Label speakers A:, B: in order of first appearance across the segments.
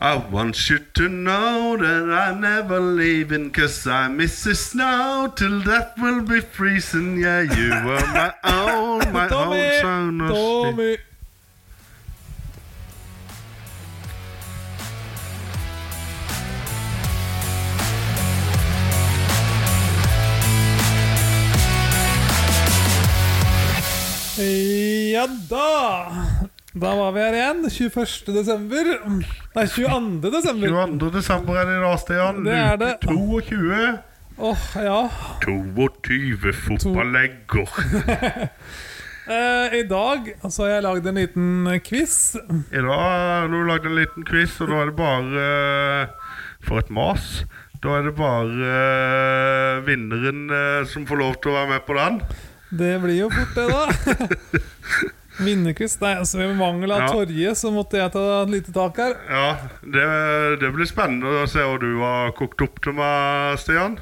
A: I want you to know that I'm never leaving, cause I miss the snow till death will be freezing. Yeah, you were my own, my
B: Tommy!
A: own son. of sleep.
B: Tommy! Ja da! Da var vi her igjen. 21. desember. Nei, 22. desember.
A: 22. desember er det i dag, Stian.
B: Det er det.
A: Luke 22.
B: Åh, ja.
A: 22 fotballegger.
B: Eh, I dag så har jeg lagd en liten quiz.
A: I dag har du lagd en liten quiz, og da er det bare eh, For et mas. Da er det bare eh, vinneren eh, som får lov til å være med på den.
B: Det blir jo fort det, da. Vinnerquiz. Nei, altså, ved mangel av
A: Ja.
B: Torje så måtte jeg ta et lite tak her.
A: Ja, det, det blir spennende å se hva du har kokt opp til meg, Stian.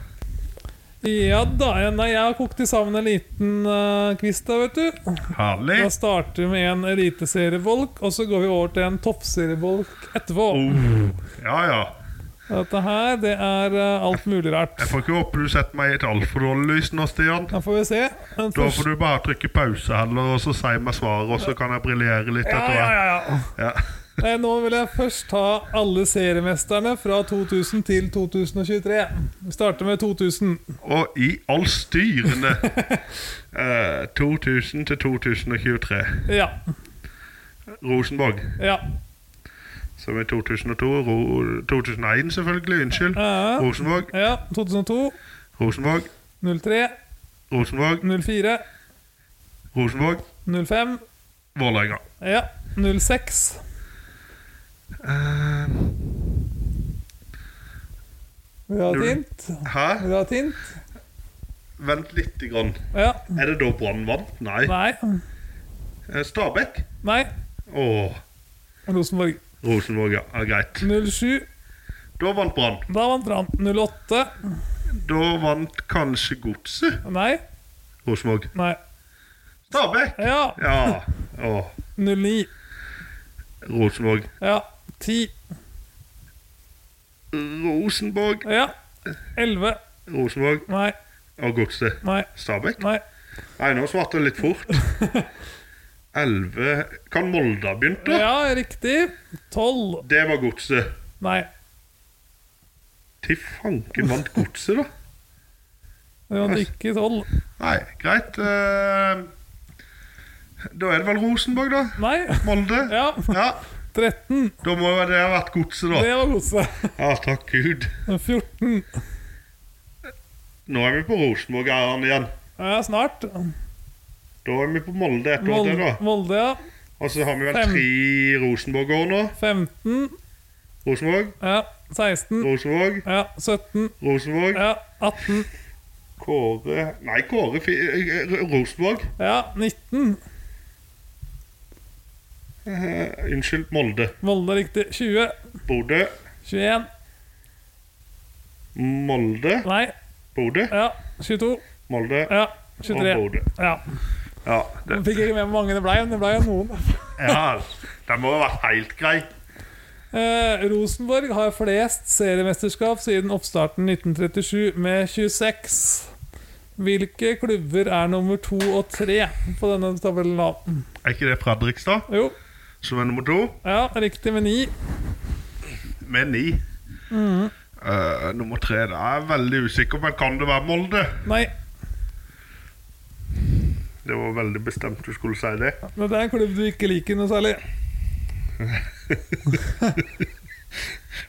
B: Ja da. ja, Nei, jeg har kokt i sammen en liten eh, quiz, da, vet du.
A: Herlig.
B: Da starter vi med en eliteseriebolk, og så går vi over til en toppseriebolk etterpå.
A: Oh. Ja, ja. Oh.
B: Dette her, det er eh, alt mulig rart.
A: Jeg får ikke håpe du setter meg i et altfor dårlig lys nå, Stian.
B: Da får vi se. Den
A: Da
B: første-
A: får du bare trykke pause heller, og så si meg svaret, og så kan jeg briljere litt
B: ja,
A: etter
B: ja,
A: hvert.
B: ja, ja.
A: Ja.
B: Nei, Nå vil jeg først ta alle seriemesterne fra 2000 til 2023. Vi starter med 2000.
A: Og i all styrende eh, 2000 til 2023.
B: Ja.
A: Rosenborg,
B: ja.
A: som er 2002. Ro 2001, selvfølgelig. Unnskyld.
B: Ja.
A: Rosenborg,
B: ja. 2002,
A: Rosenborg,
B: 03,
A: Rosenborg,
B: 04,
A: Rosenborg,
B: 05,
A: Vålerenga.
B: ja. 06.
A: Eh,
B: Vil du ha
A: Null.
B: tint?
A: hæ?
B: Vil du ha tint?
A: Vent lite grann.
B: Ja.
A: Er det da Brann vant? Nei.
B: Nei.
A: Eh, Stabæk?
B: Nei.
A: Åh,
B: Rosenborg.
A: Rosenborg, ja. ja. Greit.
B: 07.
A: Da vant Brann.
B: Da vant Brann. 08.
A: Da vant kanskje Godset.
B: Nei.
A: Rosenborg.
B: Nei.
A: Stabæk!
B: Ja.
A: Ja. Åh,
B: 09.
A: Rosenborg.
B: Ja. 10.
A: Rosenborg.
B: Ja. 11.
A: Rosenborg
B: Nei.
A: og Godset.
B: Nei.
A: Stabæk?
B: Nei.
A: Nei, nå svarte jeg litt fort. 11 Kan Molde ha begynt, da?
B: Ja, riktig. 12.
A: Det var Godset.
B: Nei.
A: Til fanken vant Godset, da?
B: Det var ikke 12.
A: Nei, greit. eh, Da er det vel Rosenborg, da?
B: Nei.
A: Molde?
B: Ja.
A: ja.
B: 13.
A: Da må jo det ha vært Godset, da.
B: Det var godset.
A: Ja, takk Gud.
B: 14.
A: Nå er vi på Rosenborg-æren igjen.
B: Ja, snart.
A: Da er vi på Molde et år til,
B: Molde,
A: da.
B: Molde ja.
A: Og så har vi vel
B: Fem.
A: tre Rosenborg-år nå.
B: 15.
A: Rosenborg,
B: Ja. 16.
A: Rosenborg,
B: Ja. 17.
A: Rosenborg.
B: Ja. 18.
A: Kåre Nei, Kåre fi, eh, Rosenborg.
B: Ja. 19.
A: Eh, unnskyld, Molde.
B: Molde, riktig. 20.
A: Bodø.
B: 21.
A: Molde.
B: Nei.
A: Bodø.
B: Ja. 22.
A: Molde.
B: Ja.
A: Og
B: 23.
A: Bodø.
B: Ja.
A: Ja, det,
B: Jeg fikk ikke med hvor mange det ble, men det ble jo noen.
A: ja, det må ha vært helt greit.
B: Eh, Rosenborg har flest seriemesterskap siden oppstarten 1937 med 26. Hvilke klubber er nummer to og tre på denne tabellen? da?
A: Er ikke det Fredrikstad
B: Jo,
A: som er nummer to?
B: ja, riktig med ni.
A: Med ni. Eh, nummer tre det er jeg veldig usikker, men kan det være Molde?
B: Nei,
A: Det var veldig bestemt du skulle si det.
B: men det er en klubb du ikke liker noe særlig.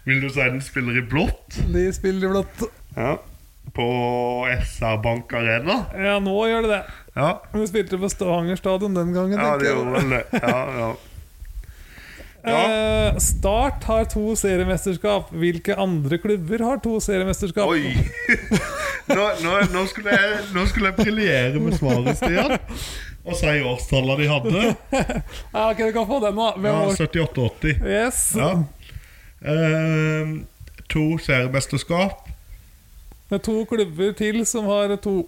A: Vil du si den spiller i blått?
B: De spiller i blått.
A: Ja. På SR Bank Arena?
B: Ja, nå gjør de det.
A: Ja.
B: Men de spilte på Stavanger stadion den gangen.
A: Ja,
B: tenker
A: det
B: jeg.
A: gjorde vel det. Ja, ja. Ja.
B: Eh, Start har to seriemesterskap. Hvilke andre klubber har to seriemesterskap?
A: Oi! Nå, nå, nå, skulle jeg, nå skulle jeg briljere med svaret, Stian. Og si årstallene de hadde.
B: Ja, ok, du kan få den nå. Hvem
A: Ja,
B: var
A: 78-80.
B: Yes.
A: Ja. Ehm, to seriemesterskap.
B: Det er to klubber til som har to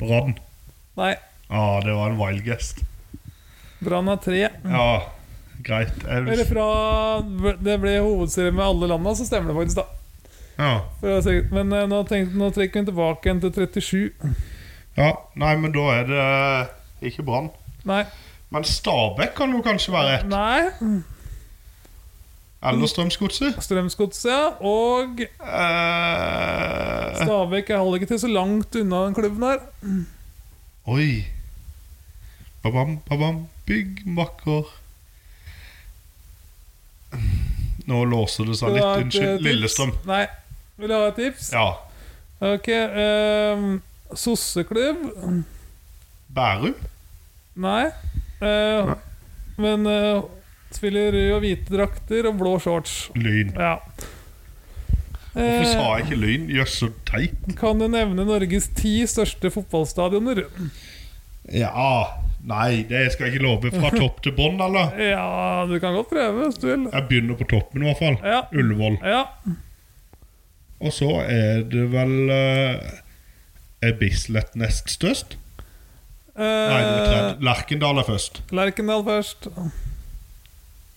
A: Brann.
B: Nei,
A: Ja, det var en wild guest.
B: Brann har tre.
A: Ja. Greit. Jeg vil-
B: Eller fra det ble hovedserie med alle landa, så stemmer det faktisk, da.
A: Ja.
B: For å være sikker. Men eh, nå, tenk, nå trekker vi tilbake igjen til 37.
A: ja. Nei, men da er det eh, ikke Brann.
B: Nei.
A: Men Stabæk kan jo kanskje være et.
B: Nei.
A: Eller Strømsgodset.
B: Strømsgodset, ja. Og
A: Eh,
B: Stabæk. Jeg holder ikke til så langt unna den klubben her.
A: oi. Babam, babam, byggmakker. Nå låser det seg
B: Vil du
A: litt.
B: ha et, eh,
A: Unnskyld.
B: tips?
A: Lillestrøm.
B: Nei. Vil du ha et tips?
A: Ja.
B: Ok. ehm, Sosseklubb?
A: Bærum?
B: Nei. Eh,
A: Nei.
B: Men eh, spiller rød og hvite drakter og blå shorts.
A: Lyn.
B: Ja.
A: Hvorfor sa
B: Eh,
A: jeg ikke lyn? Jøss, så teit.
B: kan du nevne Norges ti største fotballstadioner?
A: Ja Nei, det skal jeg ikke love. Fra topp til bånn, eller?
B: Ja, du kan godt prøve hvis du vil.
A: Jeg begynner på toppen, i hvert fall.
B: Ja.
A: Ullevål.
B: Ja.
A: Og så er det vel eh, Er Bislett nest størst? Nei, det er
B: Eh,
A: tredje. Lerkendal er først.
B: Lerkendal først.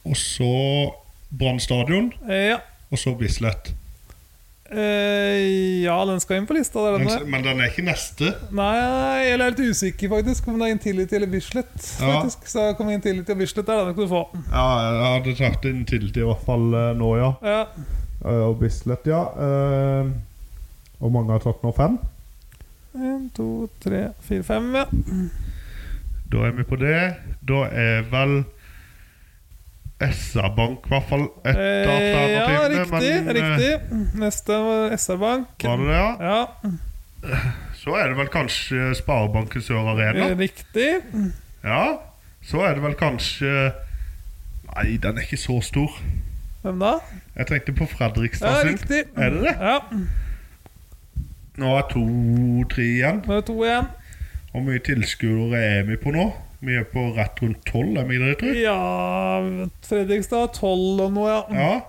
A: Og så Brann stadion,
B: Eh, ja.
A: og så Bislett.
B: Eh, ja, den skal inn på lista. Der, den
A: Men,
B: der.
A: men den er ikke neste.
B: Nei, jeg er litt usikker faktisk om det er Intility eller Bislett.
A: Ja.
B: Faktisk. Så kom Intility og Bislett der, da kan du få.
A: Ja, jeg hadde tatt inn tidlig i hvert fall eh, nå, ja.
B: Ja.
A: Eh, Og Bislett, ja. Eh, Og mange har tatt nå fem.
B: En, to, tre, fire, fem, ja.
A: Da er vi på det. Da er vel SR-Bank i hvert fall et
B: Eh,
A: av
B: ja,
A: alternativene.
B: riktig.
A: men, eh,
B: riktig. Neste var SR-Bank.
A: Var det det, ja?
B: Ja,
A: Så er det vel kanskje Sparebanken Sør Arena.
B: eh, riktig.
A: Ja, så er det vel kanskje Nei, den er ikke så stor.
B: Hvem da?
A: Jeg tenkte på
B: Ja,
A: Fredrikstad sin.
B: riktig.
A: Er det det?
B: Ja,
A: Nå er to-tre igjen.
B: nå er det to igjen.
A: Hvor mye tilskuere er vi på nå? Vi er på rett rundt tolv, er vi ikke det, tror jeg?
B: Ja, Fredrikstad tolv og noe, ja.
A: Ja.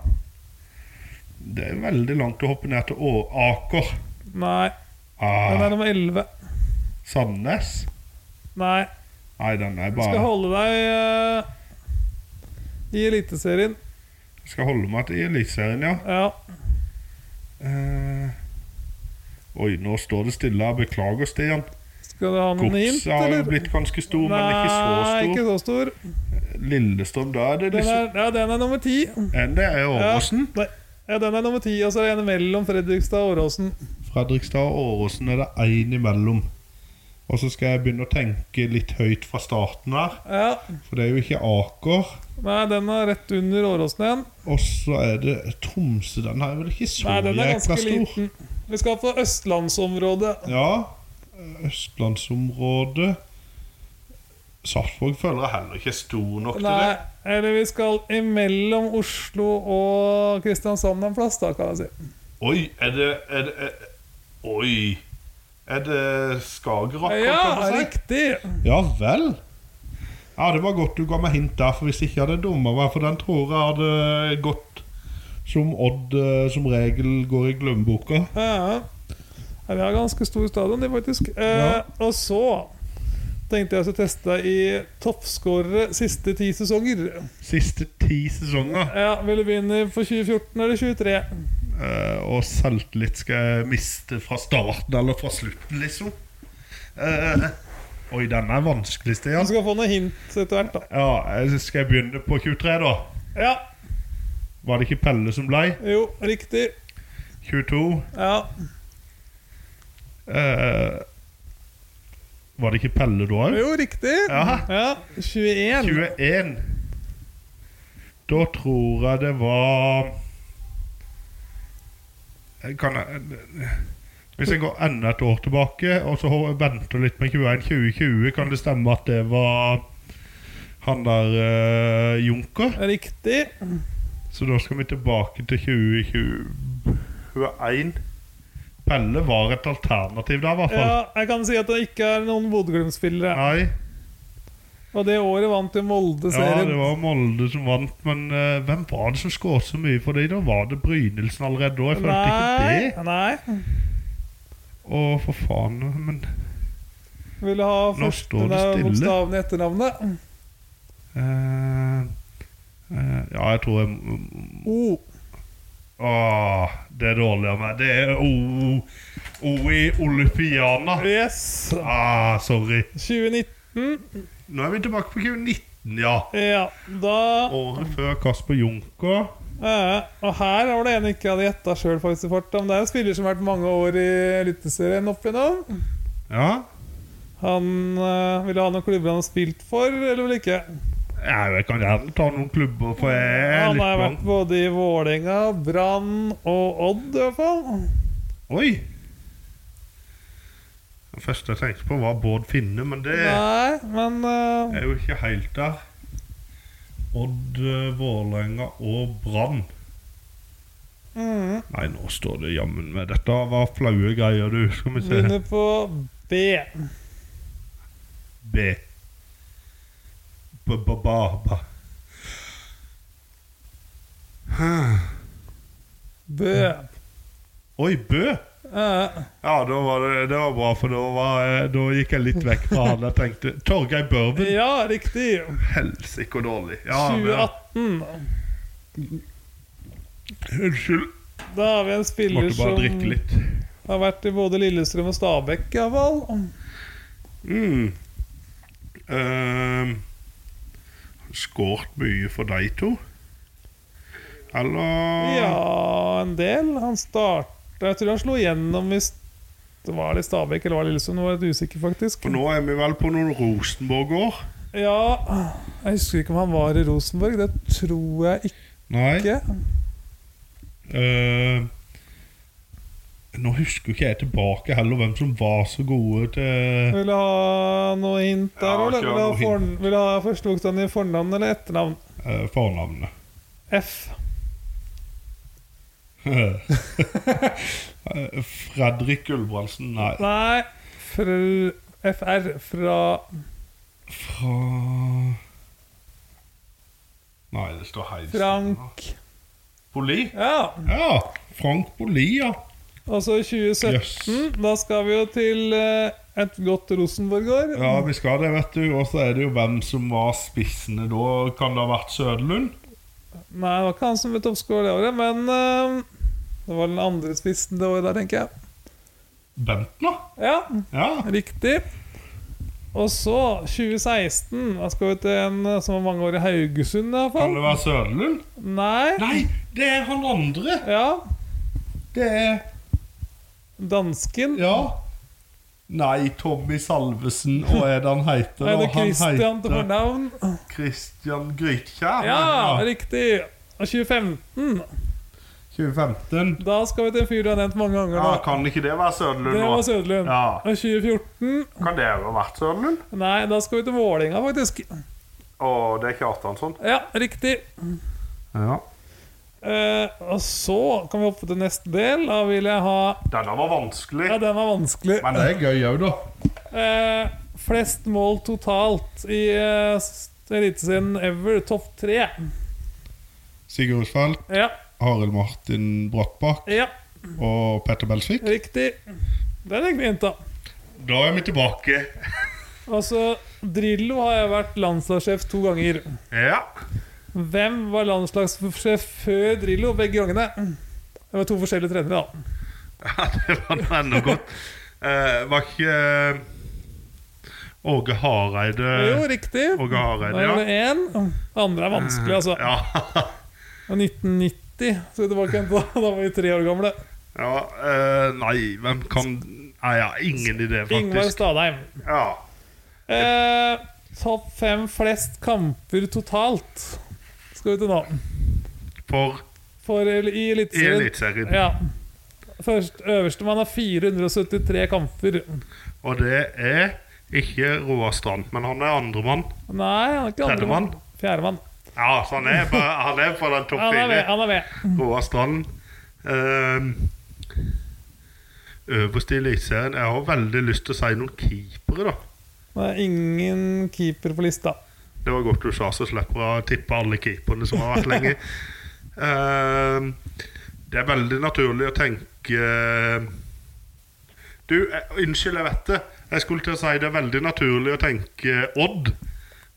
A: Det er veldig langt å hoppe ned til Å- Aker.
B: Nei, den
A: Ah,
B: er nummer elleve.
A: Sandnes.
B: Nei,
A: Nei, den er
B: du skal
A: bare
B: holde deg eh, i Eliteserien.
A: Skal holde meg til Eliteserien, ja.
B: Ja.
A: Eh, oi, nå står det stille. her. Beklager, Stian.
B: Skal du ha noen hint,
A: Gods har jo
B: eller?
A: blitt ganske stor, men ikke
B: Nei,
A: så
B: ikke
A: stor.
B: så stor.
A: Lillestrøm, da er det
B: Den
A: liksom
B: er, ja, den er nummer ti.
A: En det er Åråsen.
B: Ja, nei, ja, den er nummer ti, og så er det en mellom Fredrikstad og Åråsen.
A: Fredrikstad og Åråsen er det én imellom. Og så skal jeg begynne å tenke litt høyt fra starten her,
B: Ja,
A: for det er jo ikke Aker.
B: nei, den er rett under Åråsen igjen.
A: Og så er det Tromsø. Den er vel ikke så
B: Nei, den er
A: jækla
B: ganske
A: stor.
B: liten. Vi skal på østlandsområdet.
A: Ja. Østlandsområdet Sarpsborg føler jeg heller ikke er stor nok til
B: Nei,
A: det.
B: eller vi skal imellom Oslo og Kristiansand en plass, da, kan jeg si.
A: Oi, er det, er det er, Oi. Er det Skagerrak? holdt jeg
B: Ja,
A: på å si?
B: riktig!
A: Ja vel. Ja, Det var godt du ga meg hint der, for hvis ikke jeg hadde dumma meg, for den tror jeg hadde gått som Odd eh, som regel går i glemmeboka.
B: Ja, ja. Ja, vi har ganske stor stadion, de, faktisk. Eh,
A: Ja.
B: Og så tenkte jeg å teste deg i toppskårere siste ti sesonger.
A: Siste ti sesonger,
B: Ja, Vil du begynne på 2014 eller 23?
A: eh, og selvtillit skal jeg miste fra starten eller fra slutten, liksom. Eh, oi, den er vanskelig,
B: Du
A: Stian.
B: skal få noen hint etter hvert, da.
A: Ja, eh, Skal jeg begynne på 23, da?
B: Ja,
A: Var det ikke Pelle som blei?
B: jo, riktig.
A: 22.
B: Ja,
A: Eh, var det ikke Pelle da òg?
B: jo, riktig.
A: Ja.
B: Ja, 21.
A: 21. Da tror jeg det var kan jeg, Hvis jeg går enda et år tilbake og så ho- venter litt med 21 2020, kan det stemme at det var han der eh, Junker?
B: Riktig.
A: Så da skal vi tilbake til 2021. Pelle var et alternativ der, i hvert fall.
B: Ja, jeg kan si at det ikke er noen Bodø-Glimt-spillere.
A: Nei.
B: Og det året vant jo Molde
A: Ja, det
B: serien.
A: var Molde som vant, men eh, hvem var det som skåret så mye for dem? Da var det Brynildsen allerede da. Jeg følte
B: Nei,
A: ikke det.
B: nei.
A: Å, for faen. Men
B: Vil du ha
A: Nå står det
B: første
A: stille.
B: bokstaven i etternavnet?
A: eh, Eh, ja, jeg tror jeg m-
B: O.
A: Åh, det er dårlig av meg. Det er O, o i Olympiana.
B: Yes.
A: Ah, sorry.
B: 2019.
A: Nå er vi tilbake på 2019, ja.
B: Ja, da
A: Året før Kasper Junker.
B: Eh, og her var det en jeg ikke hadde gjetta sjøl, faktisk. i farta, Men det er en spiller som har vært mange år i Eliteserien opp igjennom.
A: Ja.
B: Han eh, ville ha noen klubber han har spilt for, eller vel ikke.
A: Jeg vet, kan gjerne ta noen klubber, for jeg er
B: Han
A: litt
B: har vært
A: blank.
B: både i Vålerenga, Brann og Odd, i hvert fall.
A: Oi! Det første jeg tenkte på, var Bård Finne, men det
B: Nei, men eh,
A: er jo ikke helt der. Odd, eh, Vålerenga og Brann.
B: mm,
A: Nei, nå står det jammen med. Dette var flaue greier, du. Skal vi se.
B: begynner på B.
A: B. B-ba-ba-ba.
B: Bø.
A: Oi, Bø!
B: Eh,
A: Ja, da var det, det var bra, for da, var, jeg- da gikk jeg litt vekk fra han jeg tenkte. Torgeir Børven.
B: ja, riktig.
A: Helsike og dårlig. Ja, men,
B: 2018.
A: unnskyld.
B: Da har vi en spiller
A: Måtte bare
B: som
A: drikke litt.
B: har vært i både Lillestrøm og Stabæk, i hvert fall.
A: Mm. Ehm, skårt mye for de to? Eller
B: Ja, en del. Han starta Jeg tror han slo igjennom i st- Var det i Stabæk eller var det Lillesund? Nå er jeg litt usikker, faktisk.
A: For nå er vi vel på noen Rosenborg-år?
B: Ja Jeg husker ikke om han var i Rosenborg. Det tror jeg
A: Nei.
B: ikke.
A: Eh, nå husker ikke jeg tilbake heller hvem som var så gode til
B: Vil du ha noe hint der,
A: Ja, kjør
B: eller? Vil du ha,
A: noe hint.
B: forn, vil du ha første bokstaven i fornavn eller etternavn?
A: eh, fornavnet.
B: F.
A: Eh, Fredrik Gulbrandsen, nei.
B: Nei. Fr, FR fra
A: Fra Nei, det står Heidsen.
B: Frank
A: Poli?
B: Ja.
A: Ja. Frank Poli, ja.
B: Og så Altså, i 2017.
A: Jøss.
B: Da skal vi jo til eh, et godt Rosenborg-år.
A: Ja, vi skal det, vet du. Og så er det jo hvem som var spissene da. Kan det ha vært Søderlund?
B: Nei, det var ikke han som ble toppskårer det året, men eh, det var den andre spissen det året der, tenker jeg.
A: Bentner?
B: Ja,
A: Ja.
B: riktig. Og så, 2016, da skal vi til en eh, som var mange år i Haugesund, i hvert
A: Kan det
B: fall.
A: være Søderlund?
B: Nei.
A: Nei, det er han andre.
B: Ja.
A: Det er
B: Dansken.
A: Ja. Nei, Tommy Salvesen, og er det han heter?
B: Er det
A: Og
B: Christian til fornavn?
A: Christian Grytkjær.
B: Ja,
A: ja.
B: riktig. Og 2015,
A: 2015.
B: da skal vi til en fyr du har nevnt mange ganger.
A: Ja,
B: Da.
A: kan ikke det være Søderlund?
B: Det
A: nå?
B: var Søderlund.
A: Ja.
B: Og 2014
A: Kan det ha vært Søderlund?
B: Nei, da skal vi til Vålinga, faktisk.
A: Å, det er Kjartansson.
B: Ja, riktig.
A: Ja.
B: Eh, og så kan vi hoppe til neste del. Da vil jeg ha
A: Denne var vanskelig.
B: Ja, den var vanskelig.
A: Men det er gøy òg, da.
B: Eh, flest mål totalt i eh, s- Eliteserien ever, topp tre.
A: Sigurd Utfeldt,
B: Ja,
A: Arild Martin Brattbakk
B: ja,
A: og Petter Belsvik.
B: riktig. Den gikk fint, da.
A: Da er vi tilbake.
B: Altså, Drillo har jeg vært landslagssjef to ganger.
A: Ja.
B: Hvem var landslagssjef før Drillo begge gangene? Det var to forskjellige trenere, da.
A: det var nå enda godt. Eh, var ikke eh, Åge Hareide
B: Jo, riktig.
A: Åge
B: Da
A: Hareide,
B: er
A: Eh, ja.
B: det én. Det andre er vanskelig, altså.
A: Ja,
B: Og 1990 skal vi tilbake igjen på. Da var vi tre år gamle.
A: ja eh, Nei, hvem kan Nei, jeg har ingen idé,
B: Ingvar
A: faktisk.
B: Stadheim.
A: Ja.
B: Eh, topp fem flest kamper totalt skal vi til nå.
A: For
B: For el- i
A: i
B: Eliteserien.
A: Eliteserien.
B: Ja. Først, øverste mann har 473 kamper.
A: Og det er ikke Roar Strand, men han er andremann.
B: Nei, han er ikke andre
A: Tredjemann?
B: Fjerdemann.
A: Ja, så han er, bare, han er på den topp
B: Han er med.
A: fire.
B: han er med
A: Roar Strand. ehm, øverst i Eliteserien. Jeg har veldig lyst til å si noen keepere, da.
B: Det er ingen keeper på lista.
A: Det var godt du sa, så slipper jeg å tippe alle keeperne som har vært lenge. Ehm, det er veldig naturlig å tenke eh, Du, eh, unnskyld, jeg vet det. Jeg skulle til å si det er veldig naturlig å tenke Odd.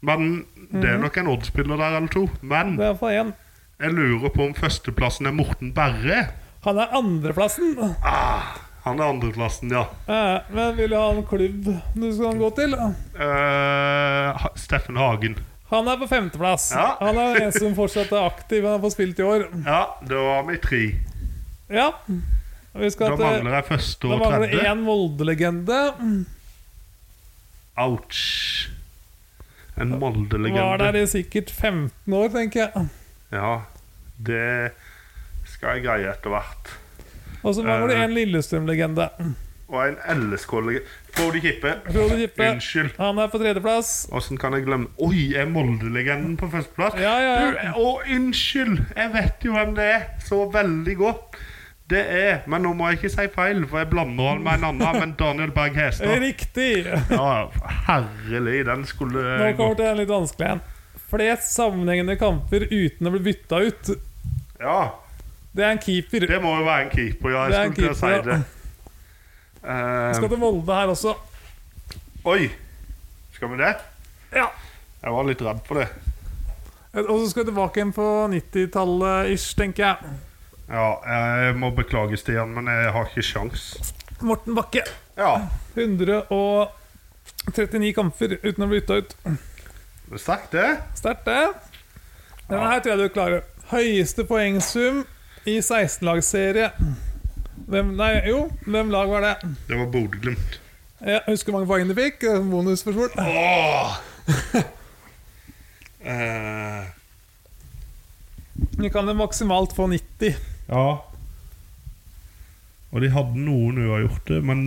A: Men det er nok en Odd-spiller der eller to. Men
B: Det er iallfall én.
A: jeg lurer på om førsteplassen er Morten Berre.
B: Han er andreplassen.
A: Ah, han er andreplassen, ja.
B: Eh, Men vil du ha en klubb du skal gå til?
A: Eh, Ha- Steffen Hagen.
B: Han er på femteplass.
A: Ja.
B: Han er en som fortsatt er aktiv. Han har fått spilt i år.
A: Ja, da var vi tre.
B: Ja. Vi
A: Da
B: skal til
A: mangler jeg første
B: Da
A: og
B: mangler det
A: tredje.
B: én Molde-legende.
A: Ouch. En
B: Var der
A: Molde-legende.
B: i sikkert 15 år, tenker jeg.
A: Ja, det skal jeg greie etter hvert.
B: Og så mangler det
A: Eh.
B: en Lillestrøm-legende.
A: Og en LSK-legende Frode Kippe.
B: Frode Kippe.
A: Unnskyld.
B: Han er på tredjeplass.
A: Åssen kan jeg glemme Oi, er Molde-legenden på førsteplass?
B: Ja, ja, ja.
A: Du, Å, unnskyld! Jeg vet jo hvem det er så veldig godt. Det er Men nå må jeg ikke si feil, for jeg blander han med en annen. Men Daniel Berg Hestad.
B: Riktig!
A: Ja, herlig, den skulle
B: Nå kommer til en litt vanskelig en. Flest sammenhengende kamper uten å bli bytta ut.
A: Ja,
B: Det er en keeper.
A: det må jo være en keeper, ja.
B: Det er
A: Jeg
B: en
A: skulle til å si
B: keeper, ja.
A: det. Eh,
B: Skal til Molde her også.
A: oi! Skal vi det?
B: Ja.
A: Jeg var litt redd for det.
B: Og så skal vi tilbake igjen på 90-tallet ish, tenker jeg.
A: Ja, jeg må beklage, Stian, men jeg har ikke sjans.
B: Morten Bakke.
A: Ja,
B: 139 kamper uten å bli bytta ut.
A: det er sterkt, det.
B: Sterkt, det. Denne her tror jeg du klarer. Høyeste poengsum i 16-lagsserie. Hvem, nei, jo, hvem lag var det?
A: Det var Bodø-Glimt.
B: Jeg husker hvor mange poeng du fikk. Bonusspørsmål.
A: Åh! Eh,
B: Vi kan det maksimalt få 90.
A: ja. Og de hadde noen uavgjorte, men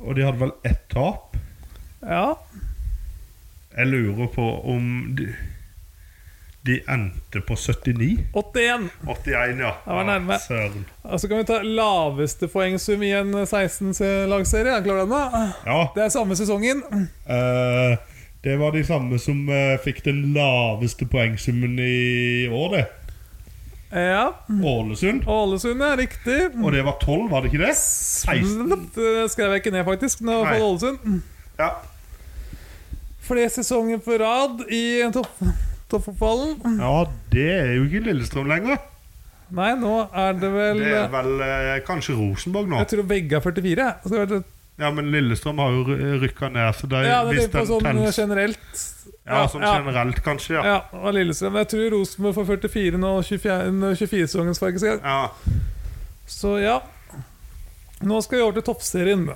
A: Og de hadde vel ett tap.
B: Ja.
A: Jeg lurer på om de, de endte på 79.
B: 81.
A: 81, ja.
B: var nærme.
A: Ja, Søren.
B: Og så Altså, kan vi ta laveste poengsum i en 16-lagsserie. Klarer du den, da?
A: Ja.
B: Det er samme sesongen.
A: eh, det var de samme som eh, fikk den laveste poengsummen i år, det.
B: Ja.
A: Ålesund.
B: Ålesund, ja. Riktig.
A: Og det var 12, var det ikke det? 16.
B: Det skrev jeg ikke ned, faktisk. Nå
A: Nei.
B: var det Ålesund.
A: Ja.
B: Flere sesonger på rad i topp- toppfotballen.
A: ja, det er jo ikke Lillestrøm lenger.
B: Nei, nå er det vel
A: Det er vel eh, kanskje Rosenborg nå.
B: Jeg tror begge er 44. jeg. Skal jeg være-
A: Ja, men Lillestrøm har jo rykka ned, så det,
B: Ja,
A: er Eh,
B: det
A: hvis
B: tenker på
A: den
B: sånn
A: telles
B: generelt.
A: Ja, sånn
B: ja,
A: generelt, kanskje, ja.
B: ja, og Lillestrøm. Jeg tror Rosenborg får 44 nå, 24-sesongen, faktisk. jeg.
A: ja.
B: Så ja. Nå skal vi over til toppserien.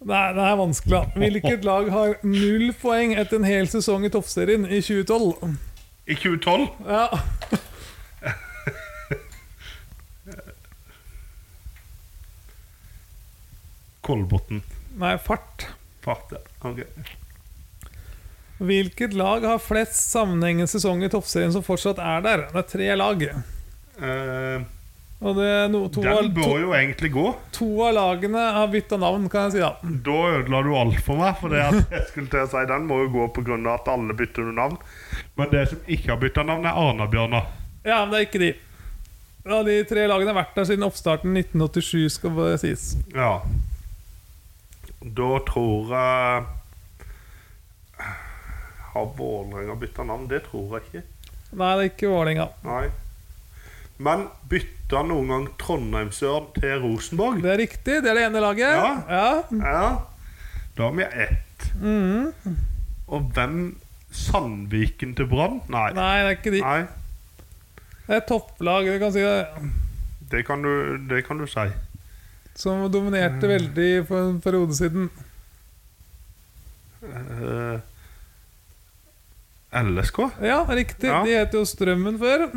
B: Nei, det er vanskelig. da. Hvilket lag har null poeng etter en hel sesong i toppserien i 2012?
A: I 2012
B: Ja,
A: Kolbotn.
B: Nei, fart.
A: Fart, ja. Ok.
B: Hvilket lag har flest sammenhengende sesong i toppserien som fortsatt er der? Det er tre lag.
A: Eh,
B: Og det er no, to,
A: den
B: av, to,
A: bør jo egentlig gå.
B: to av lagene har bytta navn, kan jeg si. da
A: Da ødela du alt for meg, for det at jeg skulle til å si den må jo gå pga. at alle bytter navn. Men det som ikke har bytta navn, er Arna-Bjørnar.
B: Ja, men det er ikke de. Ja, De tre lagene har vært der siden oppstarten 1987, skal det sies.
A: Ja. Da tror jeg Har Vålerenga bytta navn? Det tror jeg ikke.
B: Nei, det er ikke Vålerenga.
A: Nei. Men bytta noen gang Trondheimsørn til Rosenborg?
B: Det er riktig, det er det ene laget.
A: Ja.
B: Ja.
A: Ja. Da har vi ett.
B: Mm.
A: Og hvem Sandviken til Brann? Nei.
B: Nei, det er ikke de.
A: Nei.
B: Det er et topplag du kan si det,
A: Det kan du, det kan du si.
B: som dominerte
A: Mm.
B: veldig for en periode siden.
A: Eh, LSK? Å,
B: Ja, riktig.
A: Ja.
B: De het jo Strømmen før.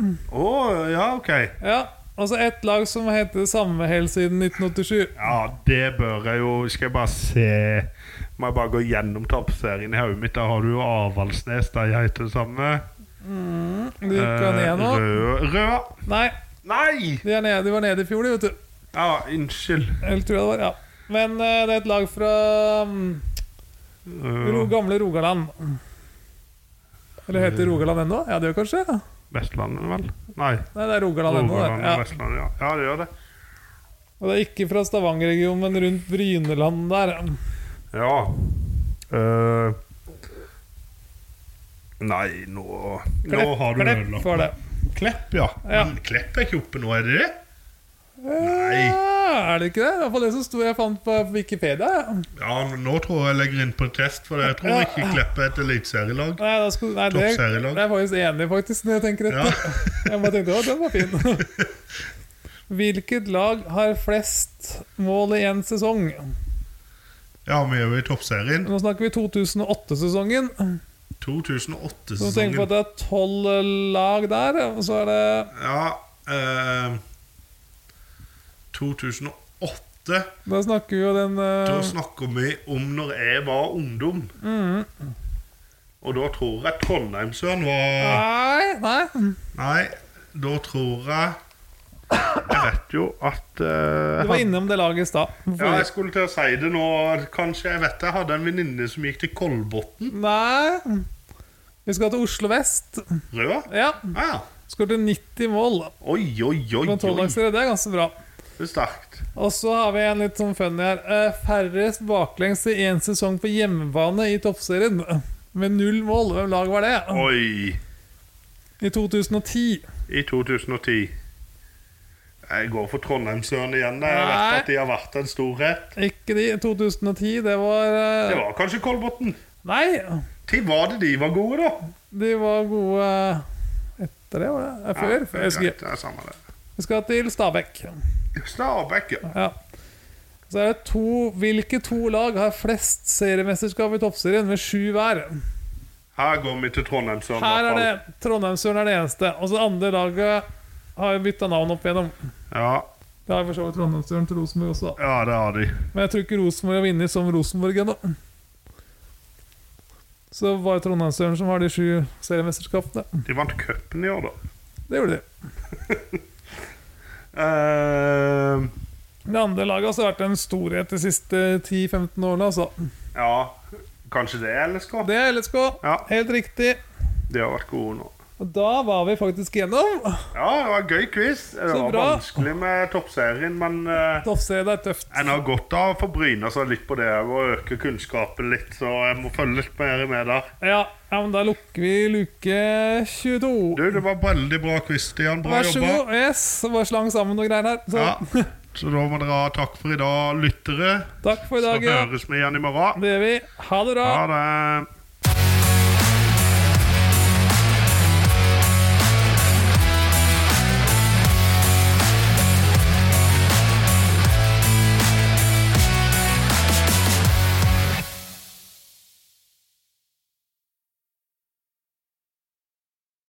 A: ja, ok.
B: Ja, Altså ett lag som heter det samme helt siden 1987.
A: Ja, det bør jeg jo Skal jeg bare se Må jeg bare gå gjennom toppserien i hodet mitt? Der har du jo Avaldsnes, der jeg heter det samme.
B: De gikk jo
A: Eh,
B: ned nå.
A: Rød, rød.
B: Nei,
A: Nei!
B: de, er nede, de var nede i fjor, de, vet du.
A: Ja, unnskyld.
B: Eller tror jeg det var, ja. Men eh, det er et lag fra mm, ro,
A: Rød.
B: gamle Rogaland. Eller
A: Eh.
B: heter det Rogaland ennå? Ja, det gjør kanskje? Nei,
A: Vestlandet, vel? Nei.
B: det er Rogaland ennå. det.
A: Rogaland og
B: Ja.
A: Vestlandet, ja. ja, det gjør det.
B: Og det er ikke fra Stavanger-regionen, men rundt Bryneland der.
A: Ja. Eh, Nei, nå, nå
B: Klepp,
A: har du
B: Klepp
A: ødelagt
B: var det.
A: Klepp, ja.
B: Ja.
A: Men Klepp er ikke oppe nå, er det det? Nei.
B: Ja, er det ikke det? Det var det som sto jeg fant på Wikipedia. ja.
A: Ja, nå tror jeg jeg legger inn på en test, for jeg tror ikke Klepp er et eliteserielag.
B: Nei, da skulle, nei det, jeg
A: Toppserielag.
B: er faktisk enig faktisk når jeg tenker
A: Ja.
B: etter. Jeg bare tenkte, å, den var fin. Hvilket lag har flest mål i én sesong?
A: ja, vi er jo i toppserien.
B: Nå snakker vi 2008-sesongen. Så tenk på
A: 2008-sesongen.
B: at det er tolv lag der, og så er det
A: Ja eh, 2008
B: Da snakker vi jo den eh,
A: Da snakker vi om når jeg var ungdom.
B: Mm.
A: Og da tror jeg Trondheimsøren var
B: Nei, nei.
A: Nei, da tror jeg Jeg vet jo at eh,
B: Du var innom det laget i stad.
A: Ja, jeg skulle til å si det nå, kanskje. Jeg vet det. Jeg hadde en venninne som gikk til Kolbotn.
B: Nei. Vi skal til Oslo vest.
A: Røa?
B: Ja.
A: Ja.
B: Skåret 90 mål
A: Oi, oi, oi.
B: på en
A: oi.
B: tolvdagsserie. Det er ganske bra.
A: Det er sterkt.
B: Og så har vi en litt sånn funny her. Eh, Færrest baklengs i én sesong på hjemmebane i toppserien. Med null mål. Hvem lag var det?
A: Oi.
B: I 2010.
A: I 2010. Jeg går for Trondheimsøren igjen. da. Jeg vet
B: Nei.
A: at de har vært en storhet.
B: Ikke de. 2010, det var eh,
A: Det var kanskje Kolbotn.
B: Nei!
A: Til var det de var gode, da?
B: De var gode etter det, var det? Eh, Før?
A: Ja,
B: før, jeg husker
A: greit,
B: ikke.
A: det er samme det.
B: Vi skal til Stabæk.
A: Stabæk, ja.
B: Ja. Så er det to Hvilke to lag har flest seriemesterskap i toppserien, med sju hver?
A: Her går vi til Trondheimsøren.
B: Her er
A: i
B: det
A: hvert
B: Trondheimsøren er det eneste. Og så det andre laget har jo bytta navn opp igjennom.
A: fall. Ja,
B: Det har for så vidt Trondheimsøren til Rosenborg også. da.
A: ja, det har de.
B: Men jeg tror ikke Rosenborg har vunnet som Rosenborg ennå. Så var det Trondheimsøren som har de sju seriemesterskapene.
A: De vant cupen i år, da.
B: Det gjorde de.
A: Eh,
B: Det andre laget har også vært en storhet de siste 10-15 årene, altså.
A: ja, kanskje det er LSK?
B: Det er LSK.
A: Ja.
B: Helt riktig.
A: De har vært gode nå.
B: Og da var vi faktisk gjennom.
A: Ja, det var en gøy quiz. Det
B: Så
A: var
B: bra.
A: vanskelig med toppserien, men eh,
B: Toppserie, det er tøft.
A: en har godt av å få bryna seg litt på det og øke kunnskapen litt, så jeg må følge litt mer med der.
B: Ja, ja, men da lukker vi luke 22.
A: Du, det var veldig bra quiz, Stian. Bra
B: Vær så
A: jobba.
B: god. Yes, det var slang sammen noen greier her. Så
A: Ja. Så da må dere ha takk for i dag, lyttere.
B: takk for i
A: Så
B: dag. Ja.
A: høres vi igjen i morgen.
B: Det gjør vi. Ha det bra.
A: Ha det.